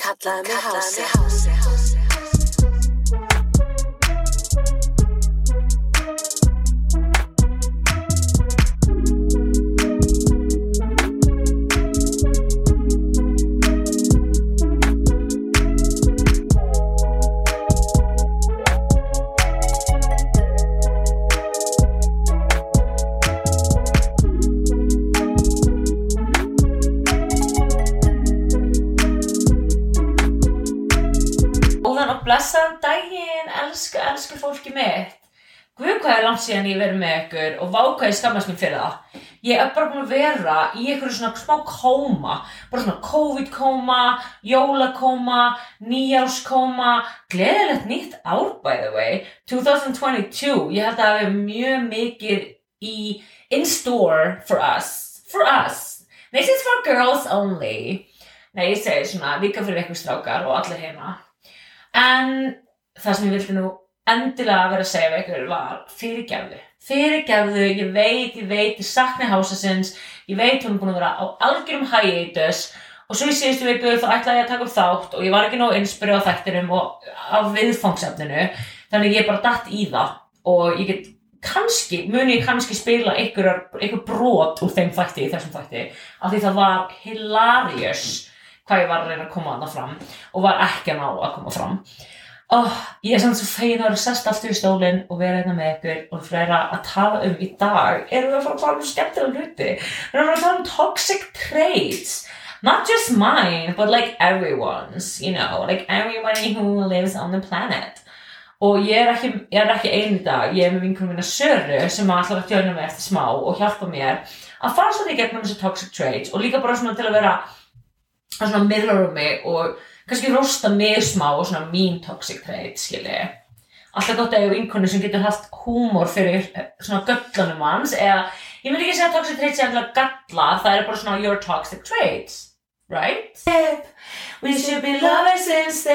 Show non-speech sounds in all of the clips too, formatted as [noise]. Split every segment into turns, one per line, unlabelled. kallaði mig hási
Góðan og hérna, blessaðan daginn, elsku, elsku fólki mitt. Guð hvað er langt síðan ég verið með ykkur og vá hvað ég skammast mér fyrir það. Ég er bara búin að vera í einhverju svona smá kóma, bara svona COVID-kóma, jólakóma, nýjárskóma, gleðilegt nýtt ár by the way, 2022. Ég held að það hefur mjög mikið í in store for us, for us. This is for girls only. Nei, ég segi svona líka fyrir ykkur strákar og allir heima. En það sem ég vildi nú endilega vera að segja við ykkur var fyrirgefðu. Fyrirgefðu, ég veit, ég veit, ég sakna hásasins, ég veit hún er búin að vera á algjörum hægeitus og svo í síðustu viku þá ætlaði ég að taka upp þátt og ég var ekki nóg innspyrðu á þættinum og á viðfangsefninu þannig ég bara datt í það og ég get kannski, muni ég kannski spila ykkur, ykkur brot úr þeim þætti í þessum þætti af því það var hilarious hvað ég var að reyna að koma þarna fram og var ekki að ná að koma fram oh, ég er samt svo fegin að vera sest aftur í stólinn og vera einna með ykkur og fleira að tala um í dag erum við að fara að tala um skemmtilega hluti við erum að fara að tala um toxic traits not just mine but like everyone's you know like everybody who lives on the planet og ég er ekki, ég er ekki einu dag ég er með vinkunum minna Söru sem allar að djóna mig eftir smá og hjálpa mér að fara svolítið í gegnum þessi toxic traits og líka bara svona til að vera að svona mirrora mig og kannski rosta mig smá og svona mín toxic trait, skilji. Alltaf gott að ég hef einhvern sem getur haft húmor fyrir eh, svona göllanum hans eða ég myndi ekki segja að toxic trait sé alltaf galla, það er bara svona your toxic traits, right? We should be lovers
I
instead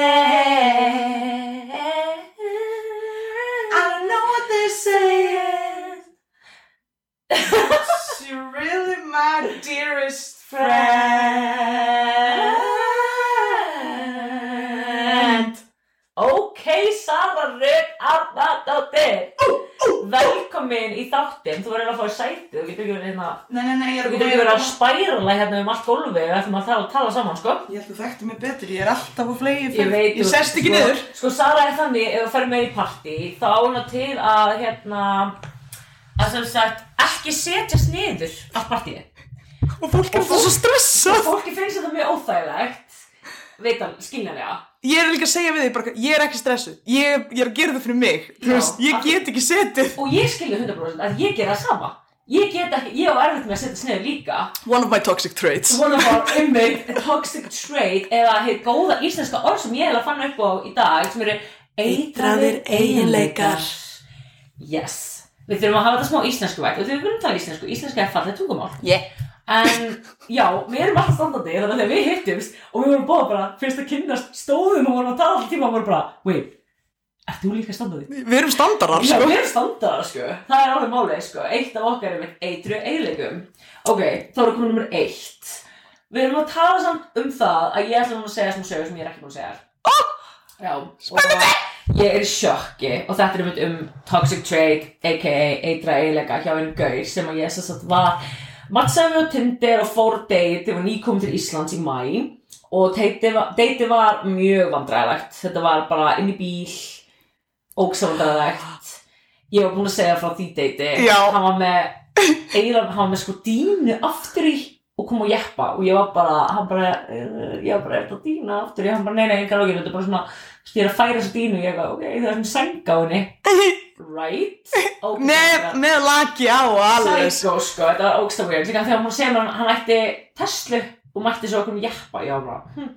don't know what they're saying. It's really my dearest friend.
Ok, Sara Rögg Arnardóttir Velkomin í þáttinn, þú verður að fá sætið, þú getur ekki verið hérna
Nei, nei, nei, ég er
Þú getur ekki verið að spærala hérna um allt gólfið við ætlum að tala, tala saman, sko
Ég held að þekktu mig betur, ég er alltaf á flegi
Ég veit
Ég
þú-
sest ekki
sko-
niður
Sko, Sara er þannig, ef þú fer með í partí þá á hún að til að, hérna að sem sagt, ekki setjast niður á partíi
Og fólk er alltaf svo stressað
Fólki finnst þetta mjög óþægilegt Veitan, skiljanlega
Ég er líka að segja við því, bara, ég er ekki stressuð Ég, ég er að gera það fyrir mig Þú
Já.
veist, ég get ekki setið
Og ég skilja 100% að ég gera það sama Ég get ekki, ég á erfitt með að setjast niður líka
One of my toxic traits
One of our inmate toxic trait eða hitt góða íslenska orð sem ég hef að fanna upp á í dag sem eru eitraðir eiginleikar Yes Við þurfum að hafa þetta smá íslensku vægt og því við verðum að tala íslensku, íslenska er fallið tungumál
Yeah.
En já, við erum alltaf standandi þannig að þegar við hittumst og við vorum báða bara fyrst að kynnast stóðum og vorum að tala alltaf tíma og vorum bara, wait, ert þú líka standandi?
Við erum standarar,
Já,
sko
við erum standaðar sko, það er alveg málið sko, eitt af okkar er með eitru eiginleikum. Ok, þá erum komið nummer eitt. Við erum að tala samt um það að ég ætla núna að segja svona sögur sem ég er ekki búin að segja. Oh! Já, spennandi! Og ég er í sjokki og þetta er einmitt um toxic trait, aka eitra eiginleika hjá einu gaur sem að ég sem sagt var matsaði mig á Tinder og fór á date þegar ný kom til Íslands í mæ og deiti var, deiti var mjög vandræðlegt, þetta var bara inn í bíl, ógsavandræðlegt. Ég var búin að segja frá því deiti,
Já.
hann var með eiginlega, hann var með sko dínu aftur í og kom og jeppa og ég var bara, hann bara, eh, ég var bara eftir að dína aftur í, hann bara, nei, nei, engar ágjörn, þetta er bara svona, þú veist, ég er að færa þessa dínu, ég var, ok, það er svona sænga á henni, right? Okay,
Með, með laki á og alveg
Psycho sko, þetta var ógsta weird Líka þegar hún segir mér að hann ætti Tesla og mætti svo okkur jeppa Já, bara hm.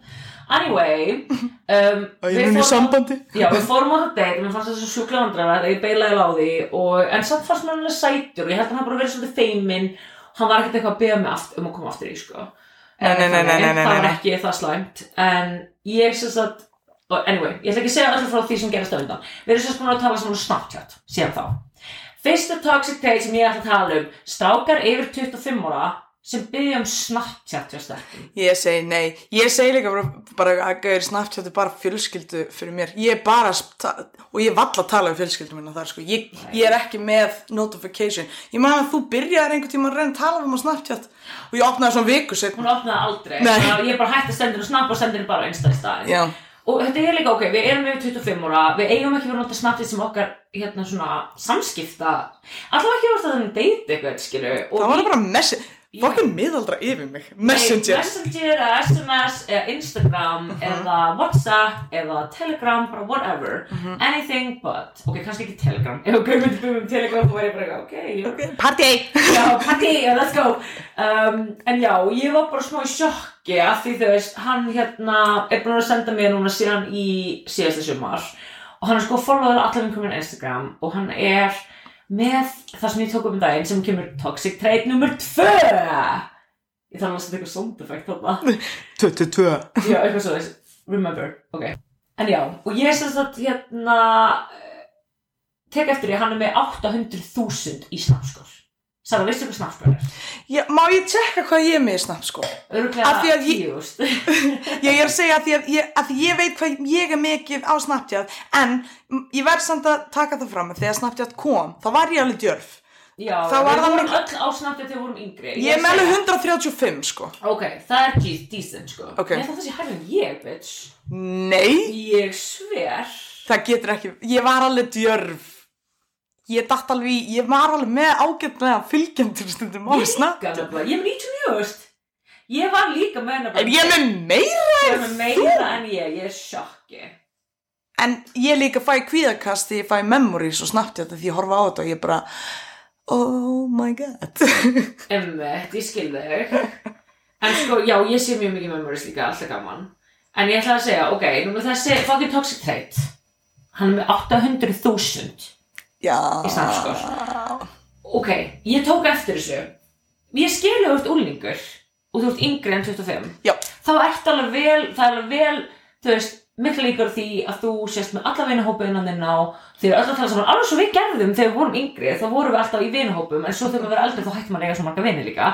Anyway um,
Og ég er hún í sambandi
Já, við fórum á það date og mér fannst það svo sjúklega vandræða þegar ég beilaði á því og, en samt fannst mér hann alveg sætur og ég held að hann bara verið svolítið feiminn hann var ekkert eitthvað að beða mig aft, um að koma aftur í sko.
Nei, nei, nei, nei, nei, nei,
það var
nei.
ekki það slæmt en ég sem sagt og anyway, ég ætla ekki að segja alltaf frá því sem gerast á undan við erum sem sagt búin að tala saman um Snapchat síðan þá Fyrsta toxic trait sem ég ætla að tala um strákar yfir 25 ára sem byrja um Snapchat hjá stelpum.
Ég segi nei, ég segi líka bara, bara að gauður Snapchat er bara fjölskyldu fyrir mér, ég er bara að ta- og ég vall að tala um fjölskyldu minna þar sko, ég, ég er ekki með notification, ég man að þú byrjaðir einhvern tíma að reyna að tala um á Snapchat og ég opnaði svona viku
Hún
setna
opnaði aldrei,
Nei.
þannig að ég bara hætti að senda henni Snap og sendi henni bara einstæð staðin.
Já,
Og þetta er líka ok, við erum yfir 25 ára, við eigum ekki verið að nota Snapchat sem okkar hérna svona samskipta, allavega ekki verið að þannig deyta eitthvað, skilju.
það var bara messi,
Já.
fokkin miðaldra yfir mig, messenger, Mhm.
Messenger, eða SMS, eða Instagram, eða Whatsapp, eða Telegram, bara whatever.
Mhm.
Anything but, ok, kannski ekki Telegram. Ef okkur myndi búið um Telegram, þá væri ég bara eitthvað, ok, já,
okay. party,
já, party, yeah, let's go. Um, en já, ég var bara smá í sjokki af því þú veist, hann hérna er búin að senda mér núna síðan í síðasta sumar og hann er sko followður allar vinkum minn á Instagram og hann er með það sem ég tók upp um daginn sem kemur Toxic Trait nummer 2 Ég þarf að setja eitthvað sound effect þarna
22,
Já, eitthvað svo Remember, ok En já, og ég sem sagt hérna eh, tek eftir því að hann er með 800.000 í snafskór Sara, veistu hvað snafskór er?
já, má ég tjekka hvað ég er með í Snap sko?
Öruglega
Af því að ég-
tíust [laughs]
Ég er að segja að því að ég, að því ég veit hvað ég er mikið á Snapchat en m- ég verð samt að taka það fram að þegar Snapchat kom, þá var ég alveg djörf
Já,
Þá var
við
það
vorum
miklu-
öll á snafskór þegar við vorum yngri
Ég er með alveg 135 sko
Ok, það er de- decent sko
Ok.
Ég þátt þessi hærri en ég, bitch
Nei,
Ég sver
það getur ekki, ég var alveg djörf Ég datt alveg, í- ég var alveg með ágætlega fylgjendur stundum á
Ég líka
Snapchat
nefnilega, ég er með 99 Ég var líka með nefnilega
En ég er með meira
Ég er
en
með
þú
meira en ég, ég er sjokki
En ég líka fæ kvíðakast því ég fæ memories og Snapchat af því ég horfa á þetta og ég bara Oh my god [laughs]
Emmett, ég skil þau En sko, já, ég sé mjög mikið memories líka, alltaf gaman En ég ætla að segja, ok, nú með þessi fucking toxic trait Hann er með 800.000
Já
í
sko.
snarskor Ok, ég tók eftir þessu Ég skil þau ert úlingur Og þú ert yngri en 25
Já.
Þá ert alveg vel, það er alveg vel, þú veist mikla líkur á því að þú sést með alla vinahópa innan þinn á því að öll að tala saman alveg svo við gerðum þegar við vorum yngri þá vorum við alltaf í vinahópum en svo þegar við verðum eldri þá hættum að eiga svo marga vini líka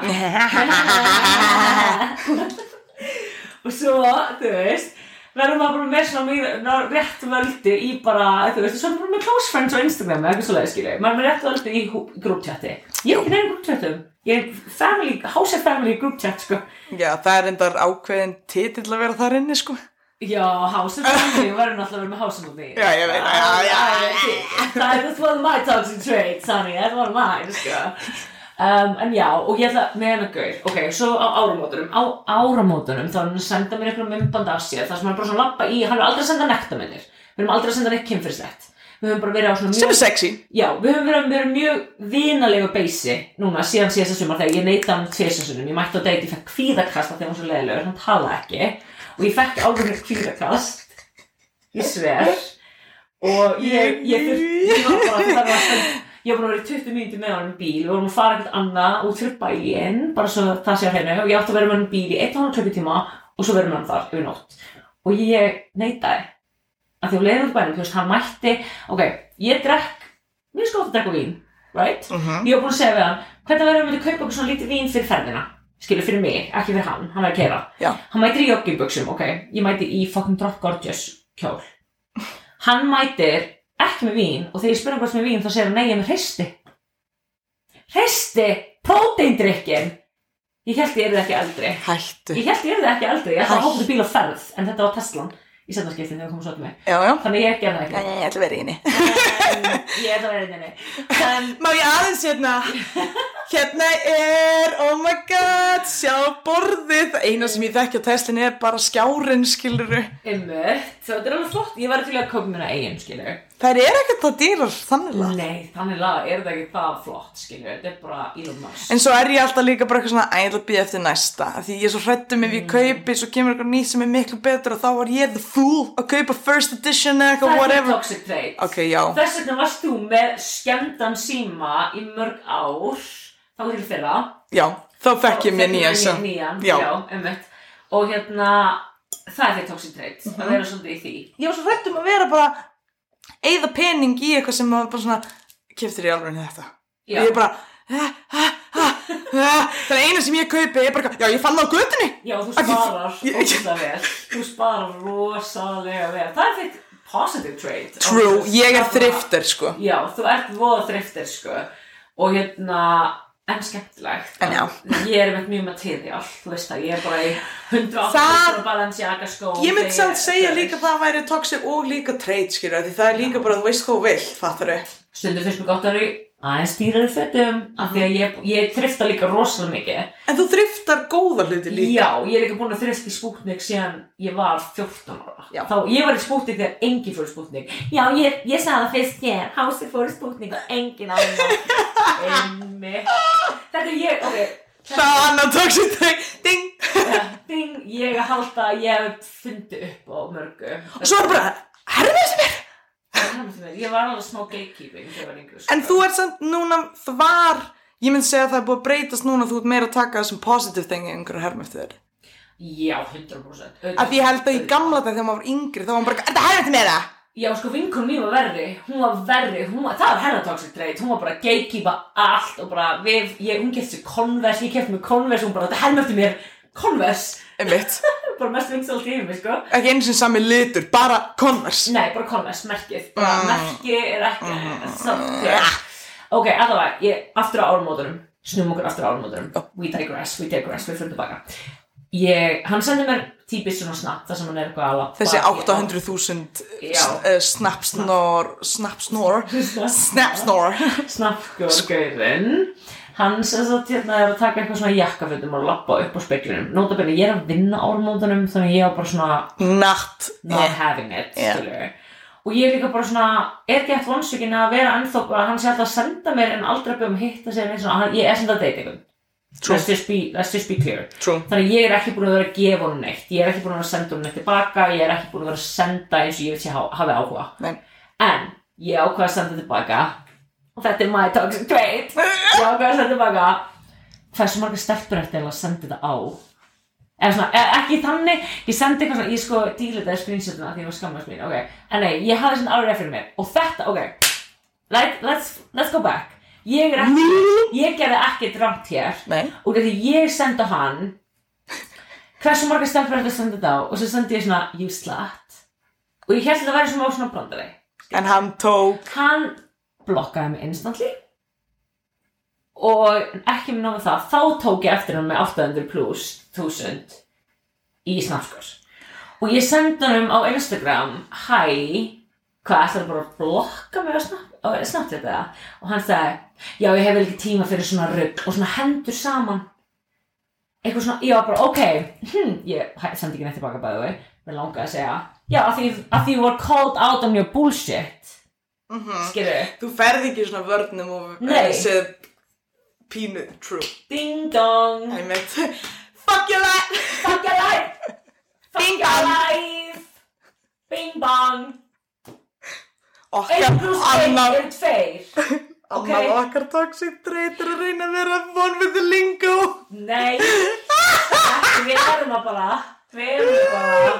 og svo, þú veist verðum maður bara með svona mjög- ná- rétt völdu í bara, þú veist, svo erum bara með close friends á Instagram eða eitthvað svoleiðis skilju, maður er með rétt völdu í hú- grúpchatti, ég er ekki neina grúpchattum ég er family, house of family grúpchatt sko,
Já, það er endar ákveðin titill að vera þar inni, sko.
já, house of family við verðum alltaf að vera með house of family
Já, ég veit, já, já, já,
það er that's one of my toxic traits, honey, that's one of mine sko, um, en já og ég ætla með hennar gaur, ok, svo á áramótunum á áramótunum þá er hann að senda mér einhverjum mymband af sér, þar sem hann er bara svona lappa í, hann er aldrei að senda nekta minnir við erum aldrei að senda neitt kynfyrslegt við höfum bara verið á svona mjög-
Sem er sexy.
Já, við höfum verið, verið mjög vinalegu beysi núna síðan síðasta sumar þegar ég neyta hann tvisasunum, ég mætti á date, ég fekk kvíðakast af því að hann var svo leiðilegur, hann talaði ekki og ég fekk alveg kvíðakast ég sver og ég, ég, þurfti- ég var bara það var stend, ég var búin að vera í 20 mínúti með honum í bíl og vorum að fara eitthvað annað út fyrir bæinn bara svo það sé á hennu og ég átti að vera með honum í bíl í 1,5 klukkutíma og svo verðum hann þar yfir nótt og ég neytaði að því að leiðum bænum, þú veist, hann mætti ok, ég drekk, mér sko ofta að drekka vín right?
Uh -huh.
Ég var búin að segja við hann, hvernig verður að myndi kaupa okkur svona lítið vín fyrir ferðina skilur fyrir mig, ekki fyrir hann, hann er að kera
Já.
hann mætir í jogginbuxum, ok ég mæti í fucking Drop Gorgeous kjól hann mætir ekki með vín og þegar ég spyrir hvað sem er vín þá segir hann nei, ég er með hristi hristi, próteindrykkin ég held ég er ekki eldri
Hættu.
ég held ég er ekki eldri, ég ætla að
Hæ.
hópa til bíl á ferð en þetta var Teslan í setnarskiptin þegar kom svo til mig
Já, já.
þannig ég gerði það ekki
ég ætla að vera í henni.
en, ég er það verið þinni en
Má ég aðeins hérna? Hérna er, oh my god, sjá borðið. Það eina sem ég þekki á Teslin er bara skjárin, skiluru.
Einmitt, svo þetta er alveg flott, ég var til að koma mér að eigin, skilju.
Það er ekkert það dýrar, þannig lað.
Nei, þannig laga er þetta ekki það flott, skilju, þetta er bara Elon Musk.
En svo er ég alltaf líka bara eitthvað svona, að ég ætla að býja eftir næsta. af Því ég er svo hrættum ef ég kaupi, svo kemur eitthvað nýtt sem er miklu betur og þá var ég the fool að kaupa first edition eða
það
eitthvað,
er
whatever.
toxic trait.
Ok, já.
Þess vegna varst þú með skemmdan síma í mörg ár, þá til fyrra.
Já, þá fekk ég mér
Þegar
nýjan
ég
sem.
Nýjan, já,
Já.
einmitt. Og hérna, það er þitt toxic trait,
Mhm.
að vera svolítið í því.
ég var svo hrætt um að vera bara eigða pening í eitthvað sem maður bara svona keftir í alveg þetta
Já.
ég er bara, Það eina sem ég kaupi er bara, já ég fann það á götunni
Já, þú
Af því-
sparar
ég- ég-
ógsta vel Þú sparar rosalega vel Það er þitt positive trait
True, ég er
Þarna-
þrifter sko
Já, þú ert voða þriftir sko Og hérna, en skemmtilegt
En já.
Ég er með mjög material, þú veist það Ég er bara í 180
Það-
Það... Balenciaga skó
Ég myndi samt segja líka að það væri toxic og líka trade skilur því það er líka bara þú veist hvað þú vill, fattar þau
Stundum finnst mér gott að vera í aðeins dýrari fötum Af því að ég, ég þrifta líka rosalega mikið
En þú þriftar góða hluti líka
Já, ég er ekki búin að þrifta í spútnik síðan ég var 14 ára.
Já.
Þá, ég var í spútnik þegar enginn fór í spútnik. Já, ég, ég sagði það fyrst hér, hásið fór í spútnik og enginn annar.
[laughs]
Einmi. Þetta er ég, ok,
Það er annað toxic trait, ding
eh, ding, ég að halda að ég hef fundið upp á mörgu.
Og svo er bara, herfið sem er
Ég var alveg smá gatekeeping þegar ég var yngri. sko.
En þú ert samt núna, það var Ég myndi segja að það er búið að breytast núna þú ert meira að taka þessum positive þengi einhverju herm eftir þér
Já, 100%. auðvitað.
Af því ég held að í gamla dag þegar maður var yngri þá var maður bara, er þetta herm eftir meira?
Já, sko, vinkunum mín var verri, hún var verri, hún var, það var hennar toxic trait, hún var bara að gatekeepa allt og bara við, ég, hún gett sér Converse, ég kefti mér Converse, hún bara, þetta helmur eftir mér, Converse,
Einmitt,
bara mest vingst allt yfir mig, sko.
ekki einu sem sami litur, bara Converse
Nei, bara Converse, merkið, bara
Mm.
merki er ekki, samt, ja. Ok, allavega, ég, aftur á árumótunum, snum okkur aftur á árumótunum, we digress, we digress, við fyrir tilbaka. Ég, hann sendi mér típist svona snabbt, þar sem hann er eitthvað að lappa
Þessi
í- [laughs]
800.000
Já.
eh, snapsnor, snapsnor, snapsnor
Snappgörgurinn Hann sem sagt hérna er að taka eitthvað svona jakkafutum og lappa upp á speklinum Nótabenni, ég er að vinna ármótunum þannig að ég á bara svona
Natt
not having it
Yeah.
yeah. Og ég er líka bara svona, er ekki eftir vonsökin að vera ennþá bara, hann sé alltaf að senda mér en aldrei að byrja um að hitta sér eins og hann, ég er sem þetta date eitthvað.
True.
Let's just be, let's just be clear.
True
Þannig að ég er ekki búin að vera að gefa honum neitt, ég er ekki búin að vera að senda honum neitt tilbaka, ég er ekki búin að vera að senda eins og ég veit sé há- hafi áhuga.
Nei.
En ég ákvað að senda tilbaka, og þetta er my toxic trait, ég ákvað að senda tilbaka, hversu marga stelpur eftir að senda þetta á? Eða svona, e ekki þannig, ég sendi eitthvað svona, ég sko dílitaði screenshotina því ég var skammast mín, ok. En nei, ég hafði svona árið fyrir mér, og þetta, ok, let, let's, let's go back. Ég er ekki, ég gerði ekkert rámt hér
Nei
og því ég sendi á hann hversu marga stelpur þetta sendi þetta á og svo sendi ég svona you slut og ég held að það væri svona svona brandari
En hann tók
hann blokkaði mig instantly og ekki með náma það þá tók ég eftir hann með 800 plus 1000 í snarskurs og ég sendi hann á Instagram hæ hvað ætlar bara að blokka mig á Snap- á Snapchat eða og hann sagði, já ég hef vel ekki tíma fyrir svona rugg og svona hendur saman eitthvað svona, ég var bara ok hm, ég hæ- sendi ekki neitt tilbaka bæðu vei mér langaði að segja, já að því, að því you were called out on your bullshit
mm
skilur,
Þú ferð ekki í svona vörnum og
Nei.
eh, séð pínu true
ding dong
Einmitt Fuck your life
fuck your life
[laughs]
fuck
Ding
your
dong.
life bing bong
Okkar
1 plus 1
annar
er 2
Annar
Ok.
okkar toxic trait er að reyna að vera von við þið lingo
Nei ekki, Við erum að bara Við erum að bara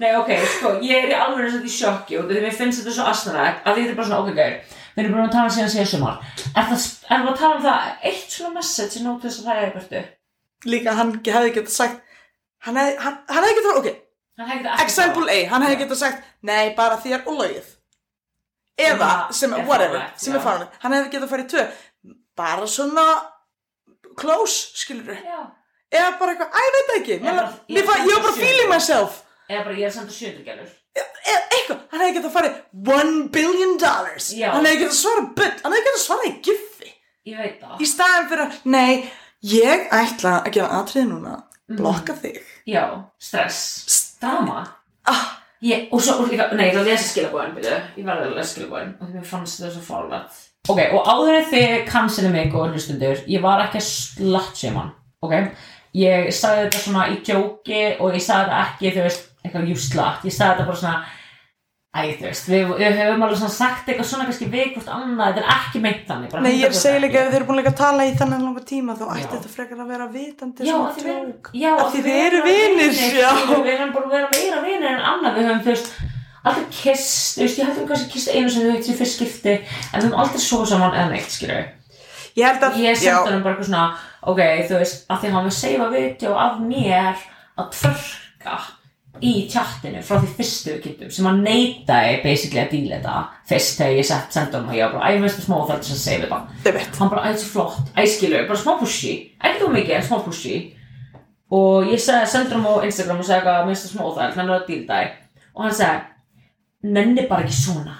Nei, ok, sko, ég er í alveg eins og þetta í sjokki og þegar mér finnst þetta svo astanægt að því þetta er bara svona okkur Við erum búin að tala síðan síðan sumar Er það, erum við að tala um það eitt svona message sem nóg til þess að það er í burtu?
Líka hann hefði getað sagt Hann hefði, hann, hann hefði getað, ok,
Hann hefði ekki
Example A, hann hefði getað sagt Nei, bara því er ólögið Eða,
Sem
sem,
er
whatever,
fáránlegt,
sem
já.
er fáránlegt Hann hefði getað farið í tvö Bara svona Close, skilur við
Já,
Eða bara eitthvað, æ, ég veit það ekki
Eða
Mér var-
bara-
mér fann- Ég var bara
Sjö.
feeling myself
eða bara ég er samt að sjöndurgelur
Eða eitthvað, hann hefði getað farið One billion dollars
Já.
Hann hefði getað svarað butt Hann hefði getað svarað í giffi
Ég veit það
Í staðan fyrir að, nei Ég ætla að gera atrið núna
Mhm.
Blokka þig
Já, stress
S-
Drama
ah,
Ég, og svo, og líka, nei, ég ætla að lesa skilabóðin, byrju, ég verði að lesa skilabóðin og mér fannst þetta svo fárlegt. Ok, og áður en þið kansinu mig og hlustundur, ég var ekki að slatt sem hann, ok? Ég sagði þetta svona í djóki og ég sagði þetta ekki, þú veist, eitthvað jú slatt, ég sagði þetta bara svona, æ, þú veist, við, við höfum alveg svona sagt eitthvað svona kannski við hvort annað, þetta er ekki meint þannig, bara
Nei, ég
100%
segi
ekki.
líka ef þeir eru búin að leika að tala í þannig langa tíma þá ætti
Já.
þetta frekar að vera vitandi
Já,
svona
að því við erum,
tjók.
já,
Af því þið eru vinir, já.
skilur, Við erum bara að vera meira vinir en annað, við höfum, þú veist, aldrei kist, þú veist, ég heldum kannski kist einu sem við veitum fyrst skipti, en við höfum aldrei svo saman eða neitt, skilur.
Ég held að,
ég
já,
sendi hann bara eitthvað svona ok, þú veist, að því hann var að seifa video af mér að tvörka í tjattinu frá því fyrstu við kynntum sem hann neitaði basically að díla þetta fyrst þegar ég sett senda hann og ég var bara, æ, veistu smá það sem seifa þetta
þau veit.
hann bara, æ, þetta er flott, æ, skilur, bara smá pushy ekki þú mikið, en smá pushy og ég segi, sendi hann á Instagram og segi eitthvað, mér finnst það smá það, hann er að díla þetta og hann segi, nenni bara ekki svona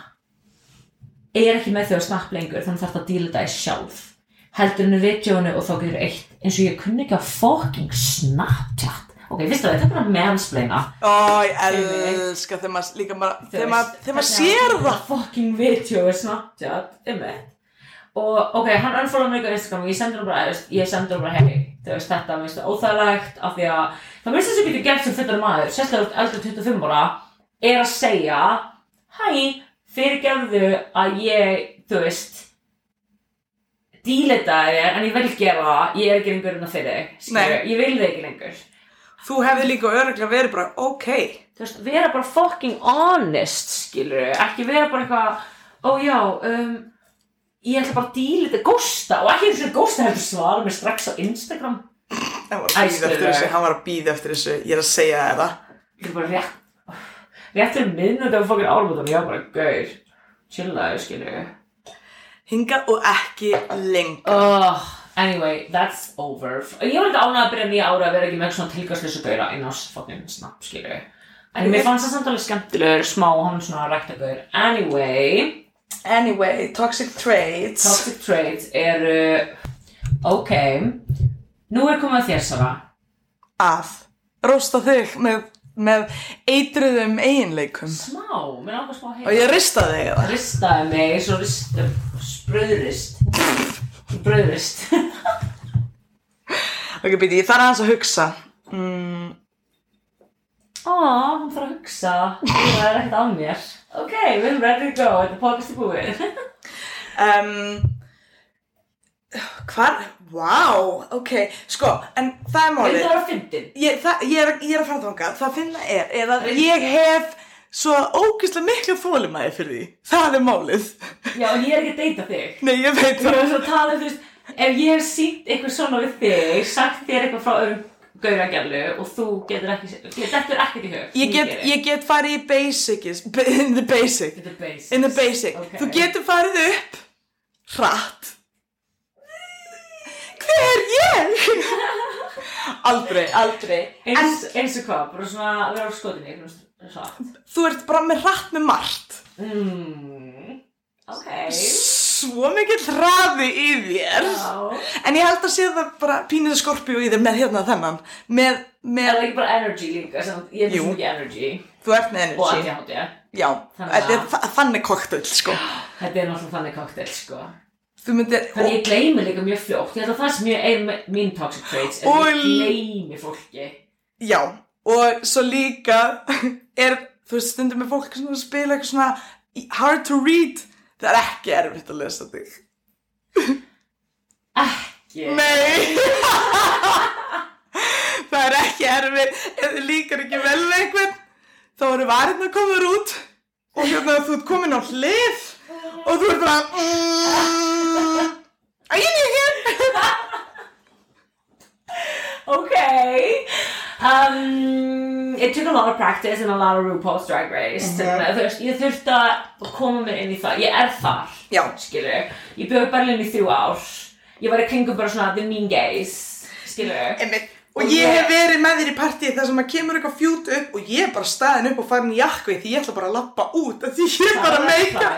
ég er ekki með þau að snapp lengur þannig þarf það að díla þetta sjálf heldur henni videónu og þá getur eitt eins og ég kunni ekki að fucking Snapchat ok, fyrst af því, þetta er bara mansplaina
Ó, ég elska þegar maður líka bara,
Þú
þegar
veist,
maður, þegar maður
hvernig
sér
hann-
það.
fucking video er Snapchat um og ok, hann unfollow mig á Instagram og ég sendur hann bara, þú veist, ég sendur hann bara hei, þú veist, þetta minnst það óþægilegt af því að, það minnst þess að getur gert sem fullar maður sérstaklega þú ert eldri en 25 ára er að segja hæ, fyrirgefðu að ég, þú veist dílita þér en ég vil gera það, ég er ekki lengur en það fyrir þig, skilurðu, ég vil þig ekki lengur
Þú hefði líka öruglega verið bara, ok,
þú veist, vera bara fucking honest, skilur ekki vera bara eitthvað, ó já, um, ég ætla bara að díla þetta gósta og ekki eins og gósta heldur svara mér strax á Instagram,
hann var að býða
Æstur,
eftir þessu,
eh.
hann var að býða eftir þessu, ég er að segja þér það.
ég er bara rétt, rétt fyrir miðnætti af fucking álmútan, ég var bara, gaur, chillaðu, skilur
Hinga og ekki lengur.
oh, anyway, that's over, ég var eitthvað ánað að byrja nýja ára að vera ekki með svona tilgangslösa gauðra inn á fucking snap, skilur En mér fannst það samt alveg skemmtilegur, smá, hann svona ræktagaur. Anyway,
Anyway, toxic traits.
Toxic traits eru Ok Nú er komið að þér Sara
að rosta þig með, með eitruðum eiginleikum
Smá, mér langar smá að
og
heyra
ég rista þig eða
Ristaði mig svo rist Spröðrist Bröðrist
ok, býti, ég þarf aðeins að hugsa mm,
Ó, hann þarf að hugsa Það er ekkert á mér Ok, við erum ready to go Þetta er podcast í búið
um, hvar, wow ok, sko, en það er
Við
málið
þarfum að fyndin
ég, það, ég, er, ég er að framtanga, það finna er er að ég hef svo ógeðslega miklu þólumæði fyrir því það er málið,
Já, en ég er ekki að deyta þig
nei ég veit
Við
það
erum svo að tala, þú veist Ef ég hef sýnt eitthvað svona við þig Sagt þér eitthvað frá öðrum gauragjallu Og þú getur ekki Þetta er ekkert í hug
ég get,
geri.
ég get farið í basics in [laughs] the basic
In the basics.
In the basic.
Ok.
Þú getur farið upp hratt. Hver er ég? [laughs] aldrei, aldrei. En
Eins, eins og hvað, bara svona að vera á skotinni, einhvern veginn svona.
þú ert bara með hratt með margt.
Mm.
Hmm.
Ok.
Svo mikill hraði í þér.
Já.
En ég held að sé það bara pínuðu skorpíu í þér með hérna þennan. Með,
Er það
með,
ekki bara energy líka, sem ég er með
Jú.
svo mikið energy
þú ert með
og
energy.
ADHD.
Já,
Þannig
þetta er
að-
þa- þannig koktel, sko.
Þetta er náttúrulega þannig koktel, sko.
Þú myndir,
Þannig ég gleymi líka mjög fljótt. Ég held að það sem ég er með mín toxic traits, er
Og-
að ég gleymi fólki.
Já, og svo líka er, þú veist, stundum með fólk sem er að spila eitthvað svona í- hard to read, það er ekki erfitt að lesa þig.
Ekki.
Nei! [laughs] það er ekki erfitt, ef þið líkar ekki vel við einhvern, þá eru varirna komur út og hérna þú ert komin á hlið og þú ert bara mm, Æ, ég er ekki!
Okay. Um, it took a lot of practice and a lot of RuPaul's Drag
Mhm.
Race. Mm -hmm. Þú veist, ég þurfti að koma mér inn í það. Ég er þar,
Já.
skilur. Ég bjóði í Berlín í þrjú ár. Ég var í kringum bara svona the mean gays, skilur.
Einmitt. Og ég hef verið með þér í partíi þar sem maður kemur eitthvað fjút upp og ég er bara staðin upp og farin í jakku því ég ætla bara að lappa út af því ég er bara að meika.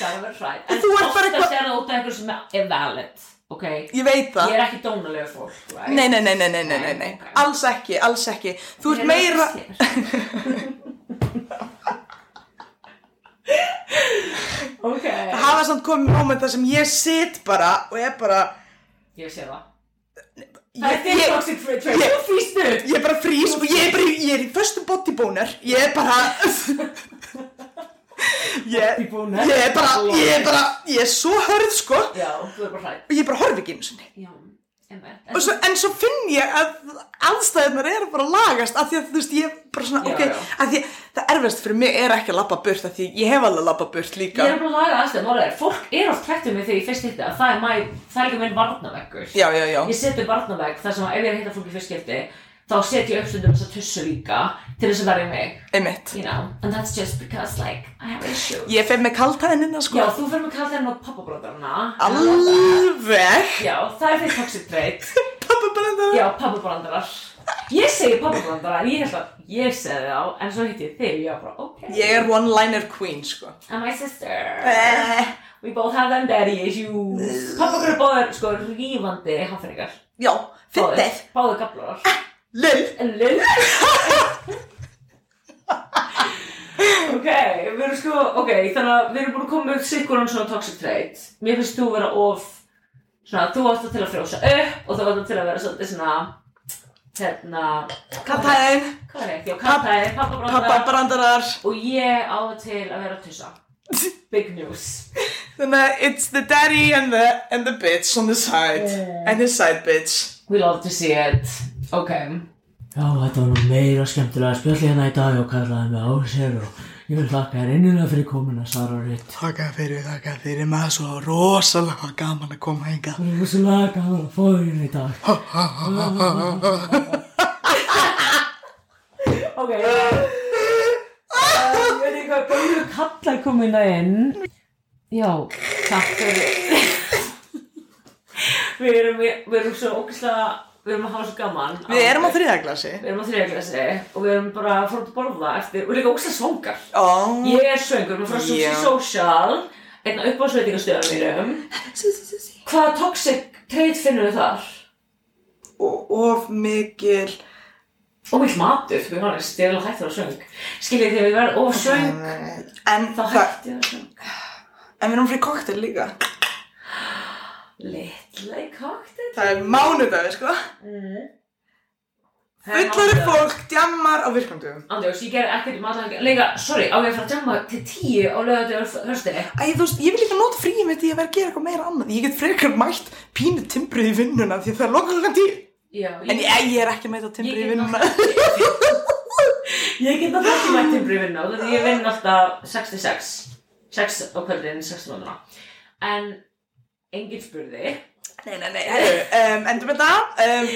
Það var hrætt.
En þú ert bara
En
eitthvað-
ofta sér það út af eitthvað sem er valid, ok?
Ég veit það.
Ég er ekki dónalega fólk, right?
Nei, nei, nei, nei, nei, nei, nei, nei.
Ok.
Alls ekki, alls ekki. Þú ert meira... [laughs]
ok.
Það hafa samt komið moment þar sem ég sit bara og er bara...
Ég sé það. Það
Ég,
er þitt
ég,
toxic fridge, right? Þú fýst upp.
ég bara frýs og ég er bara í, ég er í föstum bodybóner. Ég er bara... [laughs] Ég,
Bodyboner.
ég er bara, ég er bara, ég er svo hörð, sko.
Já, þú er bara hrætt.
Og ég bara horfi ekki einu sinni.
Já. einmitt.
Og svo, en svo finn ég að aðstæðunar eru bara að lagast af því að þú veist ég bara svona,
Já,
ok,
já.
af því það erfist fyrir mig er ekki að labba burt af því ég hef alveg labba burt
Ég
líka
er bara að laga aðstæðum, orðið, fólk er oft hrættum við þegar ég fyrst hitti að það er, my, það er ekki minn varnaveggur.
Já, já, já,
Ég seti barnavegg þar sem að ef ég er að hitta fólk í fyrst skipti, þá set ég upp stundum þess að tussu líka til þess að verja mig,
einmitt
you know, and that's just because like I have issues.
Ég fer með kaltæðinina sko
Já, þú fyrir með kalla þennan og pappabróðarna.
Alveg [laughs]
Já, það er því toxic trait.
Pappa bara það
Já, pappabrandarar. Ég segi pappabrandarar, ég held að ég segi þá, en svo hitti ég þig og ég var bara, ok.
Ég er one-liner queen sko
And my sister.
Eh,
We both have them daddy issues. Pappabrandarar báðir, sko, rífandi hafningar.
Já, fyndið
Báðir gablarar.
Lill
En lull. ok, við erum sko, ok, þannig að við erum búin að koma með sikkuran svona toxic trait. Mér finnst þú vera of, svona, þú átt það til að frjósa upp og þú átt það til að vera svolítið svona, hérna,
Kaltæðin,
Hvað er ekki? Já, kattæði,
pappa
pappabróðar
brandarar
og ég á það til að vera tussa. Big news.
Þannig að it's the daddy and the, and the bitch on the side
Eh.
And his side bitch
We love to see it. Ok.
Já, þetta var nú meira skemmtilega spjallið hérna í dag og kallaði mig Ásir og ég vil þakka þér innilega fyrir komuna, Sara og Ritt.
Takk fyrir, takk fyrir maður svo rosalega gaman að koma hinga.
Það er svo laga gaman að fá þér hérna í dag.
Ok. Um, ég veit ekki hvað, bæður kalla komina hérna inn. Já, takk fyrir. við erum, við erum svo ógislega, við erum að hafa svo gaman.
Við erum á þriðaglasi.
Við erum á þriðaglasi og við erum bara að fór að borða eftir, við erum líka ógislega svongar.
Ó,
Ég er söngur, maður frá Susi
Já.
Social einn upp á sveitingastöðum mínum Hvaða toxic trait finnum við þar?
og of mikil.
Og mitt matur, við varum ég er alveg hægt að vera söng Skiljið þegar við verðum of söng
Eh, En,
þá
það,
hætti að vera söng
en við erum fyrir koktel líka.
Little cocktail
Það er mánudagur, sko. Fullari fólk djammar á virkandugum.
Andjóks, ég ger ekkert matlæg Leika, sorry, á ég að fara að djama til tíu á lögðu höstinni
Æ, þú veist, ég vil líka nota fríið mitt í að vera að gera eitthvað meira annað. Ég get frekar mætt pínu timbrið í vinnuna því það er lokað klokkan tíu.
Já,
En ég, ég er ekki að mæta timbrið í vinnuna.
[laughs] Ég get náttúrulega ekki mætt timbrið vinna út af því ég vinn alltaf 66 6 á kvöldin, 6 mánuða En enginn spurði
Nei, nei, nei, herru, um, endur með það. Um,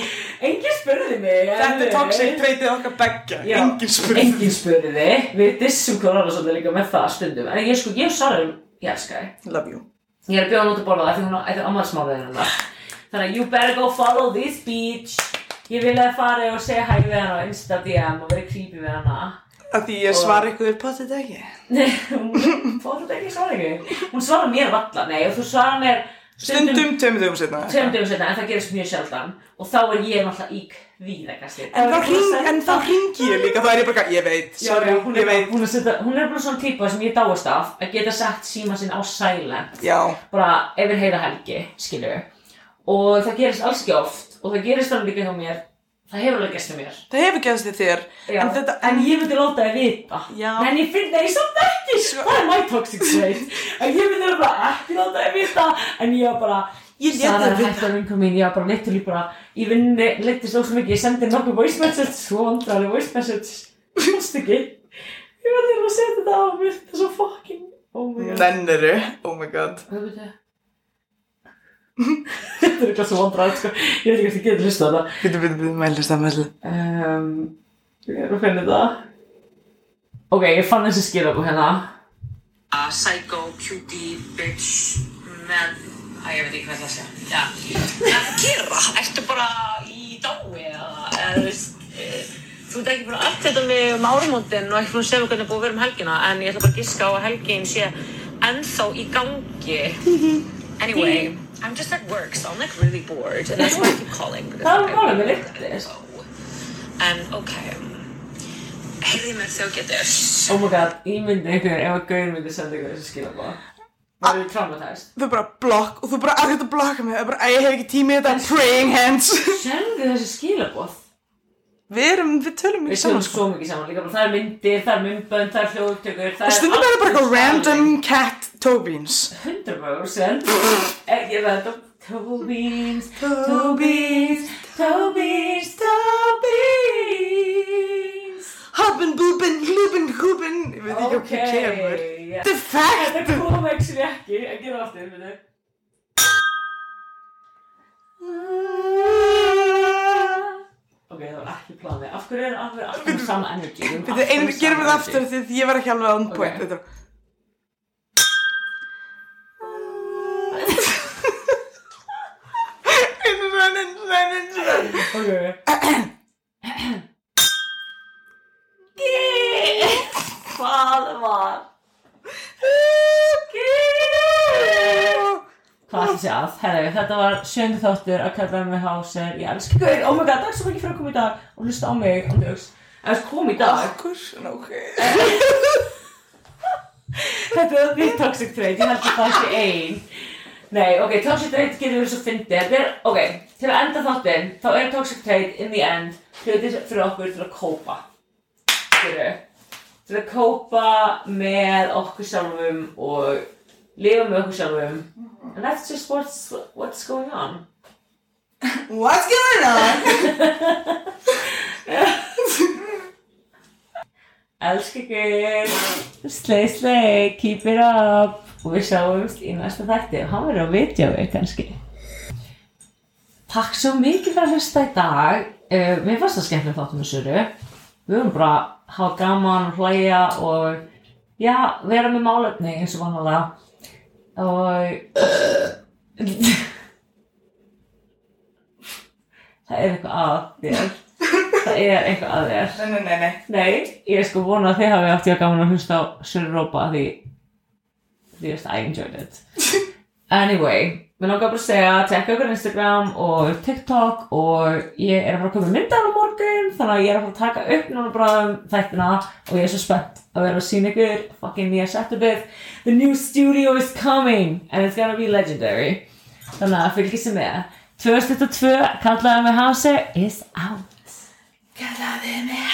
Enginn spurði mig
þetta er toxic treytið okkar begja.
Já.
Engin spurning.
Enginn spurði Við dissum hvernig annars svolítið líka með það stundum En ég sko, ég og Sara erum, ég elska þig
Love you.
Ég er að bjóða hún út að borða það því hún á- þetta er ammarsmáðið hennar Þannig að you better go follow this bitch Ég vil að fara og segja hæg við hana á Insta DM og vera creepy við hana [laughs]
Af því ég svara ykkur upp á þetta ekki.
Nei, hún fór þetta ekki svara ekki Hún svarar mér valla, nei, og þú svarar mér
Stundum tveimur dögum setna.
Tveim dögum setna, en það gerist mjög sjaldan Og þá er ég náttúrulega í kvíðakasti
En þá, hring, en þá hringi ég líka, þá er ég bara, eitthvað, ég veit,
Já,
sorry,
já, hún
ég
er, bara
veit.
búin að setja, hún er bara svona típa sem ég dáist af að geta sagt síma sinn á silent
Já,
bara yfir heila helgi, skilju og það gerist alls ekki oft og það gerist alveg líka hjá mér það hefur alveg gerst hjá mér
það hefur gefst þið þér.
Já,
En þetta, en ég,
ég myndi láta þið vita
Já.
En ég finn það, ég samt ekki
Svo-
Það er my toxic trait En ég myndi bara ekki láta þið vita En ég var bara
Ég lét
Sara
þær
er
vita.
hægt að vinka mín, ég var bara literally bara Ég vinni, leittist ósum mikið, ég sendi nokkuð voice message Svo vandrarlega voice message Fannst ekki Ég var þeirra að setja þetta á mér, þetta er svo fucking Oh my god
nenniru, oh my god.
Hvað veit ég? [laughs] Þetta er eitthvað svo vandrarlega sko. Ég veit ekki hvort ég getur hlusta þetta
Býtu, býtu, býtu, mælist það, mælist það.
um, Ég er að finna þetta Ok, ég fann þessi skilabú hérna
uh, psycho, cutie, bitch, menn, að ég veit ekki hvað það sé. Já. Hvað er að gera? Ertu bara í dái eða, eða þú veist, eh, þú ert ekki bara allt þetta með um árumóndin og ekki búin að segja hvernig er búið að vera um helgina, en ég ætla bara að giska á að helgin sé ennþá í gangi. Anyway, I'm just at work, so I'm like really bored, and that's why I keep calling. because
Það er
I
málið með
really
lyktir.
don't know. En, ok, heyrði mér þegar þú getur.
Oh my god, ímyndi einhver ef að Gaur myndi senda ykkur þessi skilabú Það eru traumatæst
Þú bara blokk og þú bara að þetta blokka mig, ég bara, æ, ég hef ekki tími í þetta, praying hands. [laughs]
Sendu þessi skilabóð
við erum, við tölum
Við
ekki
séum
saman, sko.
svo mikið saman líka bara, Það er myndir, það er myndbönd, það er hljóðutökur Það
Stundum er það bara
allt
eitthvað
saman.
random cat toe beans.
100% Ekki random Tobins, Tobins, Tobins, Tobins
Hoppin, búbin, hlúbin, húbin Ég veit ekki hvað kemur
já.
Þetta er fact
Þetta kom ekki ekki, en gera aftur, veitu Ok, það var ekki planið, af hverju er af hverju alltaf með sama energy Við erum
Þetta
alltaf
er
með
einu,
sama
gerum þetta
energy.
aftur því að ég var ekki alveg on point
Ok.
Þetta er Einu sann, einu sann, einu sann
Ok Hvað var? Hvað ætti sér að? Herðu, þetta var sjöndi þáttur að kalla með háser Ég elska gauðir, oh my god, það er svo mikið fyrir að koma í dag og hlusta á mig, um dögs En þess kom í dag,
Akkur, ok
[laughs] þetta er því toxic trait, ég held að það sé ein Nei, ok, toxic trait getur verið svo fyndið Þetta er, ok, til að enda þáttinn þá er toxic trait in the end hlutir fyrir okkur til að kópa Skilju Til að kópa með okkur sjálfum og lifa með okkur sjálfum And that's just what's, what's going on
What's going on?
Elsku ykkur, slei slei, keep it up og við sjáumst í næsta þætti og hann verður á videói kannski. Takk svo mikið fyrir að hlusta í dag, uh, mér fannst það skemmtileg þáttum með Söru, við vorum bara að hafa gaman, hlæja og já, vera með málefni eins og vanlega og [laughs] það er eitthvað að þér, það er eitthvað að þér.
Nei, nei, nei, nei
Nei, ég er sko vona að þið hafi átt ég að gaman að hlusta á Sir Rópa því því að I enjoyed it Anyway, mér langar bara að segja tjekka okkur á Instagram og TikTok og ég er að fara að koma með myndar á morgun þannig að ég er að fara að taka upp núna bara um þættina og ég er svo spennt að vera að sína ykkur fucking nýja setupið The new studio is coming and it's gonna be legendary þannig að fylgjið sem er 2022 kallaði mig hasi is out
Kallaði mig